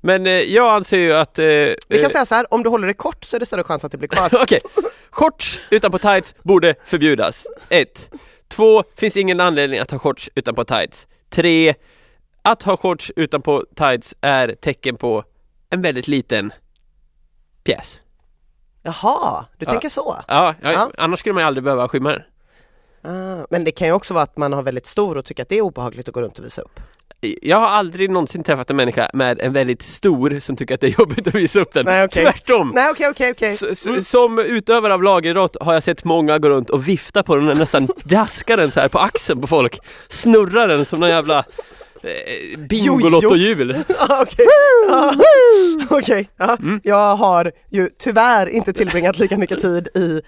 Speaker 2: Men eh, jag anser ju att... Eh,
Speaker 1: vi kan
Speaker 2: eh,
Speaker 1: säga så här, om du håller det kort så är det större chans att det blir kvar.
Speaker 2: Okej. Shorts utanpå tights borde förbjudas. Ett. Två. Finns ingen anledning att ha shorts utanpå tights. Tre. Att ha shorts utanpå tights är tecken på en väldigt liten pjäs.
Speaker 1: Jaha, du
Speaker 2: Ja.
Speaker 1: tänker så.
Speaker 2: Ja, ja,
Speaker 1: Ja.
Speaker 2: annars skulle man ju aldrig behöva skymma den.
Speaker 1: Ah, men det kan ju också vara att man har väldigt stor och tycker att det är obehagligt att gå runt och visa upp.
Speaker 2: Jag har aldrig någonsin träffat en människa med en väldigt stor som tycker att det är jobbigt att visa upp den.
Speaker 1: Nej, okej.
Speaker 2: Tvärtom!
Speaker 1: Nej okej okej okej.
Speaker 2: S- s- Som utövare av lagidrott har jag sett många gå runt och vifta på den och nästan daska den så här på axeln på folk. Snurra den som någon jävla eh, Bingolotto-hjul.
Speaker 1: Ja, Ah, Okej, Ja. Okej. ja.
Speaker 2: Mm.
Speaker 1: jag har ju tyvärr inte tillbringat lika mycket tid i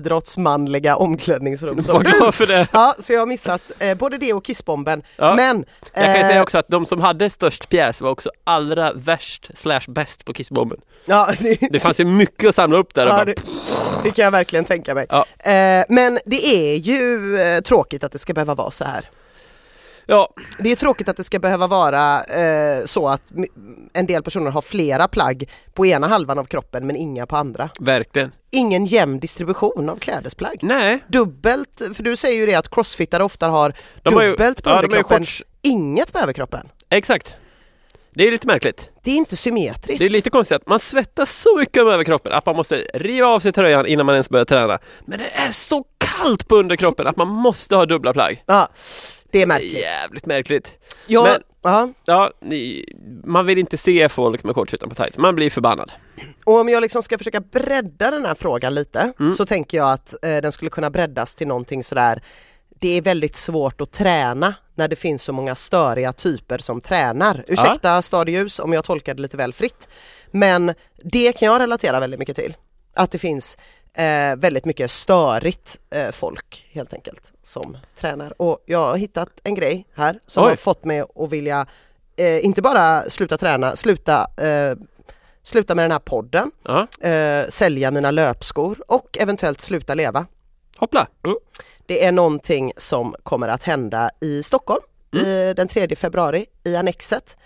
Speaker 1: lagidrottsmanliga omklädningsrum som
Speaker 2: Vad glad
Speaker 1: du.
Speaker 2: för det.
Speaker 1: Ja, så jag har missat eh, både det och kissbomben.
Speaker 2: Ja.
Speaker 1: Men
Speaker 2: Jag kan ju
Speaker 1: eh,
Speaker 2: säga också att de som hade störst pjäs var också allra värst slash bäst på kissbomben.
Speaker 1: ja, det,
Speaker 2: Det fanns ju mycket att samla upp där. Och
Speaker 1: ja,
Speaker 2: bara,
Speaker 1: det, det kan jag verkligen tänka mig.
Speaker 2: Ja.
Speaker 1: Eh, men det är ju eh, tråkigt att det ska behöva vara så här.
Speaker 2: ja,
Speaker 1: Det är tråkigt att det ska behöva vara eh, så att m- en del personer har flera plagg på ena halvan av kroppen men inga på andra.
Speaker 2: verkligen.
Speaker 1: Ingen jämn distribution av klädesplagg.
Speaker 2: Nej,
Speaker 1: dubbelt, för du säger ju det att crossfittare ofta har
Speaker 2: De har ju-
Speaker 1: dubbelt på
Speaker 2: ja, de har ju
Speaker 1: underkroppen,
Speaker 2: shorts.
Speaker 1: inget på överkroppen.
Speaker 2: exakt. Det är ju lite märkligt.
Speaker 1: Det är inte symmetriskt.
Speaker 2: Det är lite konstigt att man svettas så mycket om överkroppen att man måste riva av sig tröjan innan man ens börjar träna. Men det är så kallt på underkroppen att man måste ha dubbla plagg.
Speaker 1: ja, det är
Speaker 2: Det är
Speaker 1: märkligt.
Speaker 2: Jävligt märkligt.
Speaker 1: Ja,
Speaker 2: Men-
Speaker 1: ja.
Speaker 2: Ja, ni- man vill inte se folk med shorts utan på tights. Man blir förbannad.
Speaker 1: Och om jag liksom ska försöka bredda den här frågan lite
Speaker 2: Mm.
Speaker 1: så tänker jag att eh, den skulle kunna breddas till någonting sådär det är väldigt svårt att träna när det finns så många störiga typer som tränar. Ursäkta stadieljus om jag tolkade lite väl fritt. Men det kan jag relatera väldigt mycket till. Att det finns eh, väldigt mycket störigt eh, folk helt enkelt som tränar. Och jag har hittat en grej här som
Speaker 2: Oj.
Speaker 1: har fått mig att vilja eh, inte bara sluta träna, sluta, eh, sluta med den här podden,
Speaker 2: Ja,
Speaker 1: eh, sälja mina löpskor och eventuellt sluta leva.
Speaker 2: hoppla.
Speaker 1: Det är någonting som kommer att hända i Stockholm eh, den 3 februari i Annexet.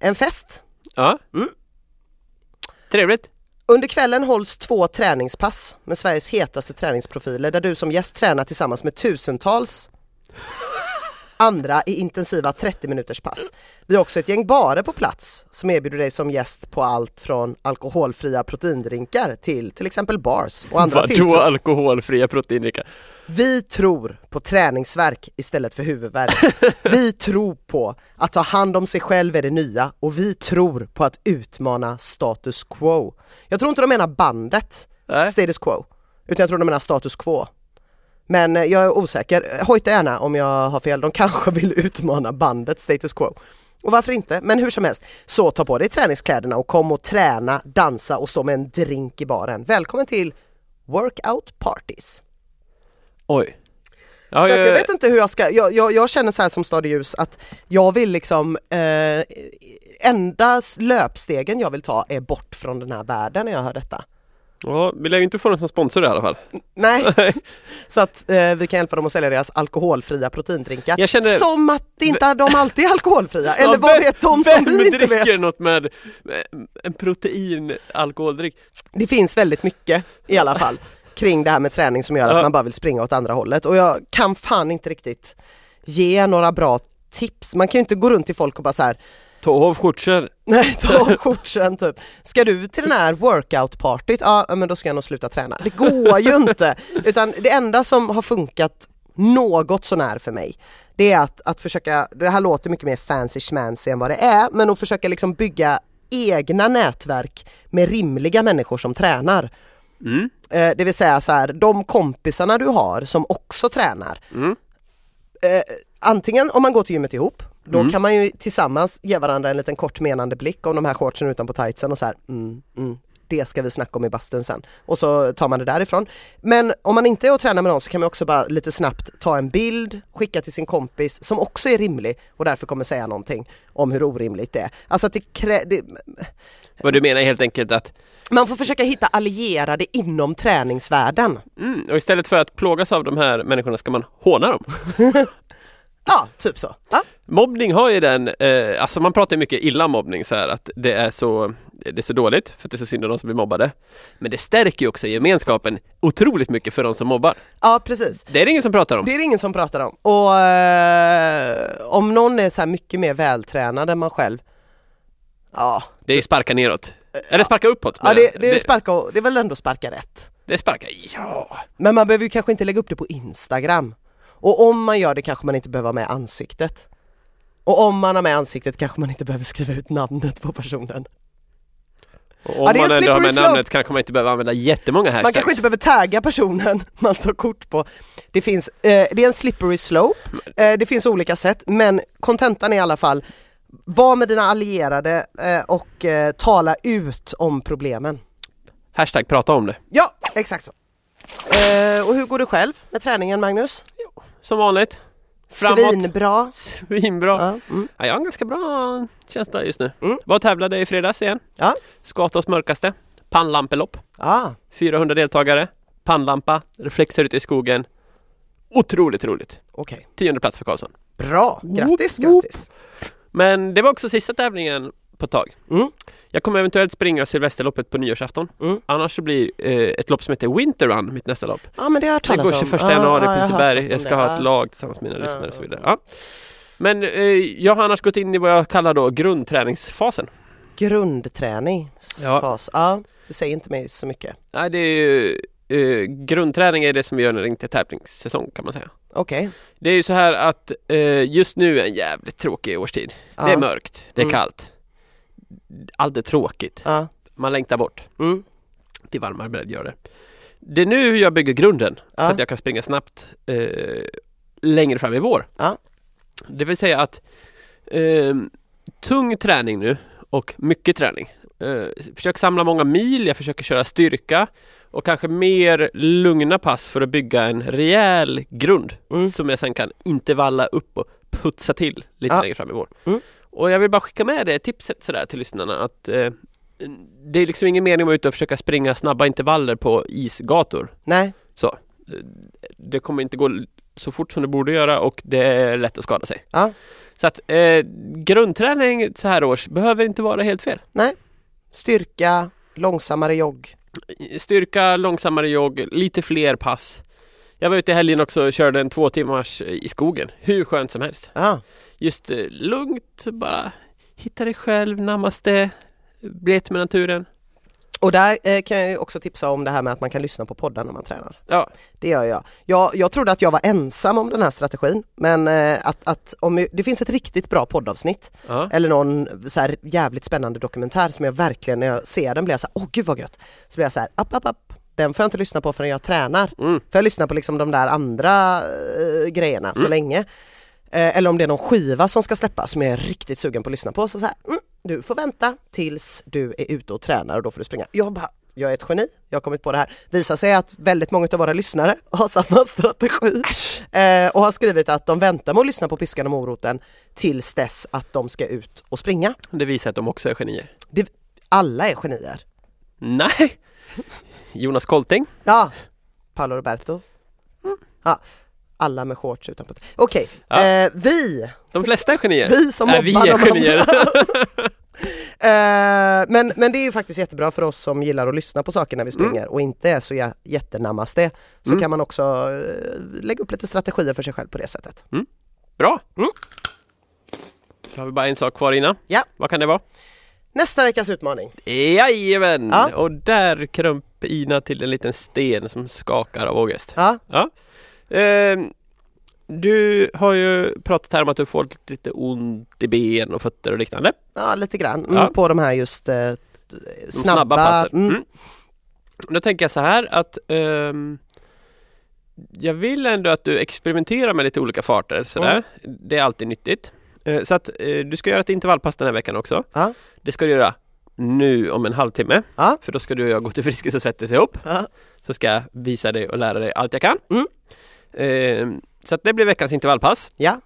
Speaker 1: En fest.
Speaker 2: Ja.
Speaker 1: Mm.
Speaker 2: Trevligt.
Speaker 1: Under kvällen hålls två träningspass med Sveriges hetaste träningsprofiler där du som gäst tränar tillsammans med tusentals andra i intensiva 30 minuters pass. Vi har också ett gäng barer på plats som erbjuder dig som gäst på allt från alkoholfria proteindrinkar till till exempel bars och andra
Speaker 2: Vadå
Speaker 1: tilltugg.
Speaker 2: alkoholfria proteindrickar?
Speaker 1: Vi tror på träningsverk istället för huvudvärk. Vi tror på att ta hand om sig själv är det nya och vi tror på att utmana status quo. Jag tror inte de menar bandet
Speaker 2: Nej.
Speaker 1: status quo, utan jag tror de menar status quo. Men eh, jag är osäker. Eh, Hojta gärna om jag har fel. De kanske vill utmana bandet status quo. Och varför inte? Men hur som helst, så ta på dig träningskläderna och kom och träna, dansa och stå med en drink i baren. Välkommen till workout parties.
Speaker 2: Oj. Ja,
Speaker 1: så
Speaker 2: ja,
Speaker 1: att jag
Speaker 2: ja.
Speaker 1: vet inte hur jag ska, jag, jag, jag känner så här som Stad i ljus att jag vill liksom, eh, enda s- löpstegen jag vill ta är bort från den här världen när jag hör detta.
Speaker 2: ja, vi lär ju inte få någon som sponsor i alla fall.
Speaker 1: Nej, så att eh, vi kan hjälpa dem att sälja deras alkoholfria proteindrinkar.
Speaker 2: Jag känner-
Speaker 1: Som att inte de alltid är alkoholfria, eller
Speaker 2: Ja,
Speaker 1: vad
Speaker 2: vem-
Speaker 1: vet de som
Speaker 2: Vem
Speaker 1: vi inte vet?
Speaker 2: dricker något med med en proteinalkoholdryck?
Speaker 1: Det finns väldigt mycket i alla fall kring det här med träning som gör att
Speaker 2: Ja.
Speaker 1: man bara vill springa åt andra hållet och jag kan fan inte riktigt ge några bra tips. Man kan ju inte gå runt till folk och bara så här
Speaker 2: Ta av skjortor.
Speaker 1: Nej, ta av shortsen typ. Ska du till den här workout-partyt? Ja, men då ska jag nog sluta träna. Det går ju inte! Utan det enda som har funkat något sånär för mig, det är att, att försöka, det här låter mycket mer fancy schmancy än vad det är, men att försöka liksom bygga egna nätverk med rimliga människor som tränar.
Speaker 2: Mm.
Speaker 1: Eh, det vill säga så här, de kompisarna du har som också tränar.
Speaker 2: Mm.
Speaker 1: Eh, antingen om man går till gymmet ihop, då kan man ju tillsammans ge varandra en liten kort menande blick om de här shortsen utanpå tightsen och så här, mm, mm, det ska vi snacka om i bastun sen. Och så tar man det därifrån. Men om man inte är och tränar med någon så kan man också bara lite snabbt ta en bild, skicka till sin kompis som också är rimlig och därför kommer säga någonting om hur orimligt det är. Alltså att det, krä- det
Speaker 2: Vad du menar är helt enkelt att
Speaker 1: man får försöka hitta allierade inom träningsvärlden.
Speaker 2: mm, och istället för att plågas av de här människorna ska man håna dem.
Speaker 1: Ja, typ så. Ja.
Speaker 2: Mobbning har ju den, eh, alltså man pratar ju mycket illa om mobbning så här att det är så det är så dåligt för att det är så synd om de som blir mobbade. Men det stärker ju också gemenskapen otroligt mycket för de som mobbar.
Speaker 1: ja, precis.
Speaker 2: Det är det ingen som pratar om.
Speaker 1: Det är det ingen som pratar om. Och eh, om någon är så här mycket mer vältränad än man själv, ja,
Speaker 2: Det är ju sparka neråt. Eller sparka uppåt.
Speaker 1: ja
Speaker 2: men
Speaker 1: det, det, är
Speaker 2: det,
Speaker 1: sparka, och- det är väl ändå sparka rätt.
Speaker 2: det är sparka, ja.
Speaker 1: Men man behöver ju kanske inte lägga upp det på Instagram. Och om man gör det kanske man inte behöver ha med ansiktet. Och om man har med ansiktet kanske man inte behöver skriva ut namnet på personen.
Speaker 2: Och om
Speaker 1: Ja, det är
Speaker 2: man
Speaker 1: en
Speaker 2: ändå har med
Speaker 1: slippery slope.
Speaker 2: namnet kanske man inte behöver använda jättemånga hashtags.
Speaker 1: Man kanske inte behöver tagga personen man tar kort på. Det finns, eh, det är en slippery slope, eh, det finns olika sätt men kontentan är i alla fall var med dina allierade eh, och eh, tala ut om problemen.
Speaker 2: Hashtag prata om det.
Speaker 1: Ja, exakt så. Eh, och hur går det själv med träningen Magnus?
Speaker 2: Som vanligt. Framåt.
Speaker 1: Svinbra.
Speaker 2: Svinbra.
Speaker 1: Ja, mm.
Speaker 2: Ja, jag har en ganska bra känsla just nu.
Speaker 1: Mm.
Speaker 2: Var tävlade i fredags igen.
Speaker 1: Ja.
Speaker 2: Skatas mörkaste. Pannlampelopp.
Speaker 1: ah,
Speaker 2: 400 deltagare. Pannlampa. Reflexer ute i skogen. Otroligt roligt.
Speaker 1: okej.
Speaker 2: Tionde plats för Karlsson.
Speaker 1: Bra, grattis,
Speaker 2: Woop, woop.
Speaker 1: grattis.
Speaker 2: Men det var också sista tävlingen på ett tag.
Speaker 1: Mm.
Speaker 2: Jag kommer eventuellt springa Sylvesterloppet på nyårsafton.
Speaker 1: Mm.
Speaker 2: Annars så blir eh, ett lopp som heter Winter Run mitt nästa lopp.
Speaker 1: Ja men det har jag hört
Speaker 2: Det
Speaker 1: talas
Speaker 2: går
Speaker 1: om.
Speaker 2: 21
Speaker 1: Ja, ja,
Speaker 2: januari i
Speaker 1: jag har hört
Speaker 2: Liseberg.
Speaker 1: om
Speaker 2: Jag ska ha ett
Speaker 1: det. Ah.
Speaker 2: lag tillsammans med mina
Speaker 1: Ja,
Speaker 2: lyssnare och så
Speaker 1: ja,
Speaker 2: vidare. Ja. Men eh, jag har annars gått in i vad jag kallar då grundträningsfasen. Ja.
Speaker 1: Grundträningsfas. Ja. det säger inte mig så mycket.
Speaker 2: Nej, det är ju, eh, grundträning är det som vi gör när det inte är tävlingssäsong kan man säga.
Speaker 1: Okej.
Speaker 2: Det är ju så här att eh, just nu är en jävligt tråkig årstid.
Speaker 1: Ja.
Speaker 2: Det är mörkt, det är
Speaker 1: Mm.
Speaker 2: kallt. Allt är tråkigt.
Speaker 1: Ja.
Speaker 2: Man längtar bort
Speaker 1: Mm.
Speaker 2: till varmare bredd gör det. Det är nu jag bygger grunden
Speaker 1: Ja.
Speaker 2: så att jag kan springa snabbt eh, längre fram i vår.
Speaker 1: Ja.
Speaker 2: Det vill säga att eh, tung träning nu och mycket träning. Eh, försök samla många mil, jag försöker köra styrka och kanske mer lugna pass för att bygga en rejäl grund
Speaker 1: Mm.
Speaker 2: som jag sen kan intervalla upp och putsa till lite
Speaker 1: Ja.
Speaker 2: längre fram i vår.
Speaker 1: Mm.
Speaker 2: Och jag vill bara skicka med det tipset sådär till lyssnarna att eh, det är liksom ingen mening att vara ute och försöka springa snabba intervaller på isgator.
Speaker 1: Nej,
Speaker 2: Det kommer inte gå l- så fort som det borde göra och det är lätt att skada sig.
Speaker 1: Ja.
Speaker 2: Så att eh, grundträning så här års behöver inte vara helt fel.
Speaker 1: styrka, långsammare jogg.
Speaker 2: Styrka, långsammare jogg, lite fler pass. Jag var ute i helgen också och körde en två timmars eh, i skogen. Hur skönt som helst.
Speaker 1: Ja.
Speaker 2: Just eh, lugnt, bara hitta dig själv, namaste, bli ett med naturen.
Speaker 1: Och där eh, kan jag ju också tipsa om det här med att man kan lyssna på poddar när man tränar.
Speaker 2: Ja.
Speaker 1: Det gör jag. Jag, jag trodde att jag var ensam om den här strategin men eh, att, att om, det finns ett riktigt bra poddavsnitt
Speaker 2: Ja.
Speaker 1: eller någon så här jävligt spännande dokumentär som jag verkligen när jag ser den blir jag så här, åh gud vad gött. Så blir jag så här, app, app, app. Den får jag inte lyssna på förrän jag tränar.
Speaker 2: Mm.
Speaker 1: För jag lyssnar på liksom de där andra eh, grejerna så länge. Eh, eller om det är någon skiva som ska släppas som jag är riktigt sugen på att lyssna på. Så, så här, mm, du får vänta tills du är ute och tränar och då får du springa. Jag bara, jag är ett geni, jag har kommit på det här. Visar sig att väldigt många av våra lyssnare har samma strategi eh, och har skrivit att de väntar med att lyssna på piskan och moroten tills dess att de ska ut och springa.
Speaker 2: Det visar att de också är genier.
Speaker 1: Det, alla är genier.
Speaker 2: Nej! Jonas Kolting.
Speaker 1: Ja, Paolo Roberto. Ja, alla med shorts utanpå. Okej,
Speaker 2: Ja.
Speaker 1: eh, vi,
Speaker 2: De flesta är genier.
Speaker 1: vi som
Speaker 2: Nej, vi
Speaker 1: mobbar
Speaker 2: är
Speaker 1: de
Speaker 2: genier.
Speaker 1: Eh, men, men det är ju faktiskt jättebra för oss som gillar att lyssna på saker när vi springer och inte är så jä- jättenamaste. Så
Speaker 2: Mm.
Speaker 1: kan man också eh, lägga upp lite strategier för sig själv på det sättet.
Speaker 2: Bra!
Speaker 1: Mm.
Speaker 2: Då har vi bara en sak kvar innan.
Speaker 1: Ja.
Speaker 2: Vad kan det vara?
Speaker 1: Nästa veckas utmaning.
Speaker 2: Jajamän!
Speaker 1: Ja.
Speaker 2: Och där krömp Ina till en liten sten som skakar av ångest.
Speaker 1: Ja,
Speaker 2: Ja. Ehm, du har ju pratat här om att du får lite ont i ben och fötter och liknande.
Speaker 1: ja lite grann mm,
Speaker 2: Ja.
Speaker 1: på de här just eh,
Speaker 2: De
Speaker 1: snabba,
Speaker 2: passen.
Speaker 1: Mm.
Speaker 2: Mm. Då tänker jag så här att ehm, jag vill ändå att du experimenterar med lite olika farter. Sådär.
Speaker 1: Mm.
Speaker 2: Det är alltid nyttigt. Eh, så att eh, du ska göra ett intervallpass den här veckan också.
Speaker 1: Ja.
Speaker 2: Det ska du göra nu om en halvtimme.
Speaker 1: Ja.
Speaker 2: För då ska du och jag gå till Friskis och Svettis ihop.
Speaker 1: Ja.
Speaker 2: Så ska jag visa dig och lära dig allt jag kan.
Speaker 1: Mm.
Speaker 2: Ehm, så att det blir veckans intervallpass.
Speaker 1: Ja,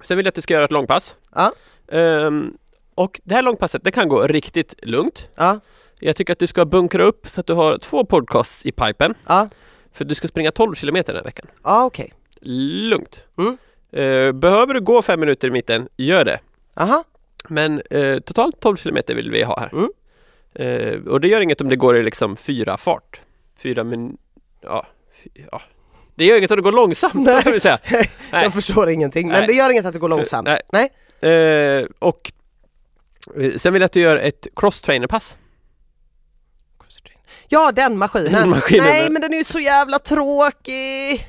Speaker 2: Sen vill jag att du ska göra ett långpass.
Speaker 1: Ja.
Speaker 2: Ehm, och det här långpasset, det kan gå riktigt lugnt.
Speaker 1: ja,
Speaker 2: Jag tycker att du ska bunkra upp så att du har två podcasts i pipen.
Speaker 1: ja,
Speaker 2: För du ska springa 12 kilometer den här veckan.
Speaker 1: ja okej.
Speaker 2: Lugnt.
Speaker 1: Mm.
Speaker 2: Eh, behöver du gå fem minuter i mitten, gör det.
Speaker 1: Aha.
Speaker 2: Men eh, totalt 12 kilometer vill vi ha här.
Speaker 1: Mm.
Speaker 2: Eh, och det gör inget om det går i liksom fyra fart. Fyra min... Ja. fy- ja. Det gör inget om det går långsamt, så kan vi säga. Nej.
Speaker 1: Jag förstår ingenting men
Speaker 2: Nej.
Speaker 1: det gör inget att det går långsamt.
Speaker 2: Nej.
Speaker 1: Nej,
Speaker 2: Eh, och eh, sen vill jag att du gör ett cross-trainer-pass.
Speaker 1: Ja den maskinen.
Speaker 2: Den maskinen,
Speaker 1: Nej
Speaker 2: ja.
Speaker 1: men den är ju så jävla tråkig.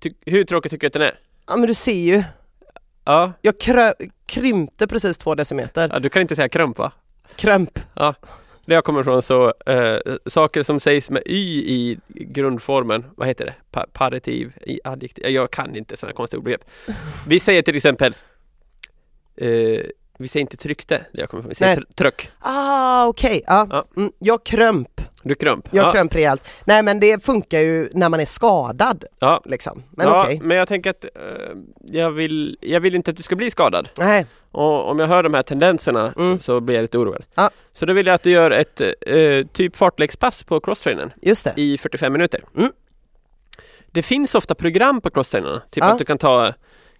Speaker 2: Ty- hur tråkig tycker du att den är?
Speaker 1: Ja men du ser ju,
Speaker 2: Ja.
Speaker 1: jag krö- krympte precis två decimeter.
Speaker 2: ja, du kan inte säga krump va?
Speaker 1: Krömp.
Speaker 2: Där jag kommer ifrån så, eh, saker som sägs med y i grundformen, vad heter det? Pa paritiv, i adjektiv, jag kan inte sådana konstiga ordbegrepp. Vi säger till exempel, eh, vi säger inte tryckte, där jag kommer ifrån, vi säger
Speaker 1: Nej.
Speaker 2: tr- tryck,
Speaker 1: Ah okej, ja.
Speaker 2: Ja.
Speaker 1: Mm, jag krömp,
Speaker 2: du krump.
Speaker 1: jag
Speaker 2: ja,
Speaker 1: krömp rejält. Nej men det funkar ju när man är skadad
Speaker 2: ja.
Speaker 1: liksom. Men
Speaker 2: ja,
Speaker 1: okej.
Speaker 2: men jag tänker att eh, jag, vill, jag vill inte att du ska bli skadad.
Speaker 1: Nej,
Speaker 2: Och om jag hör de här tendenserna
Speaker 1: Mm.
Speaker 2: så blir jag lite oroad.
Speaker 1: Ja.
Speaker 2: Så då vill jag att du gör ett eh, typ fartläggspass på crosstrainern.
Speaker 1: just det.
Speaker 2: i 45 minuter.
Speaker 1: Mm.
Speaker 2: Det finns ofta program på crosstrainarna,
Speaker 1: Ja.
Speaker 2: typ att du kan ta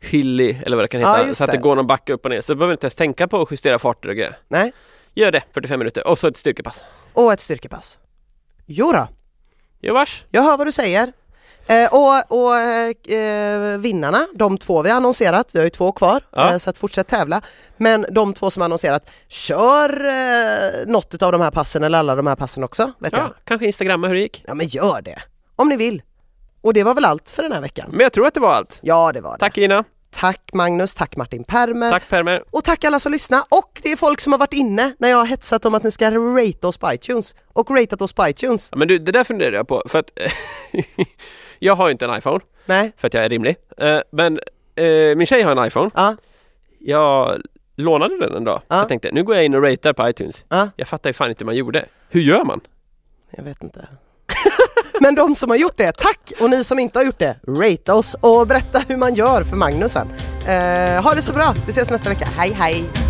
Speaker 2: Hilly eller vad det kan
Speaker 1: Ja,
Speaker 2: heta,
Speaker 1: just
Speaker 2: så att det.
Speaker 1: det.
Speaker 2: går någon backe upp och ner. Så du behöver inte ens tänka på att justera farter och grejer.
Speaker 1: Nej.
Speaker 2: Gör det, 45 minuter, och så ett styrkepass.
Speaker 1: Och ett styrkepass. Jo då,
Speaker 2: Jo, vars.
Speaker 1: jag hör vad du säger. Eh, och och eh, eh, vinnarna, de två vi har annonserat, vi har ju två kvar,
Speaker 2: Ja.
Speaker 1: eh, så att fortsätt tävla. Men de två som har annonserat, kör eh, något av de här passen eller alla de här passen också. Vet jag.
Speaker 2: Ja, kanske instagramma hur det gick.
Speaker 1: ja men gör det, om ni vill. Och det var väl allt för den här veckan.
Speaker 2: Men jag tror att det var allt.
Speaker 1: Ja det var det.
Speaker 2: Tack Ina,
Speaker 1: Tack Magnus, tack Martin Permer.
Speaker 2: tack Permer.
Speaker 1: Och tack alla som lyssnar och det är folk som har varit inne när jag har hetsat om att ni ska rate oss på iTunes och ratat oss på iTunes.
Speaker 2: Ja, men du, det där funderar jag på, för att jag har ju inte en iPhone,
Speaker 1: Nej.
Speaker 2: för att jag är rimlig. Eh, men eh, min tjej har en iPhone.
Speaker 1: Ja,
Speaker 2: Jag lånade den en dag.
Speaker 1: Ja.
Speaker 2: Jag tänkte, nu går jag in och ratear på iTunes.
Speaker 1: Ja.
Speaker 2: Jag fattar ju fan inte hur man gjorde. Hur gör man?
Speaker 1: jag vet inte. Men de som har gjort det, tack! Och ni som inte har gjort det, rate oss och berätta hur man gör för Magnus sen. Eh, ha det så bra, vi ses nästa vecka. Hej hej!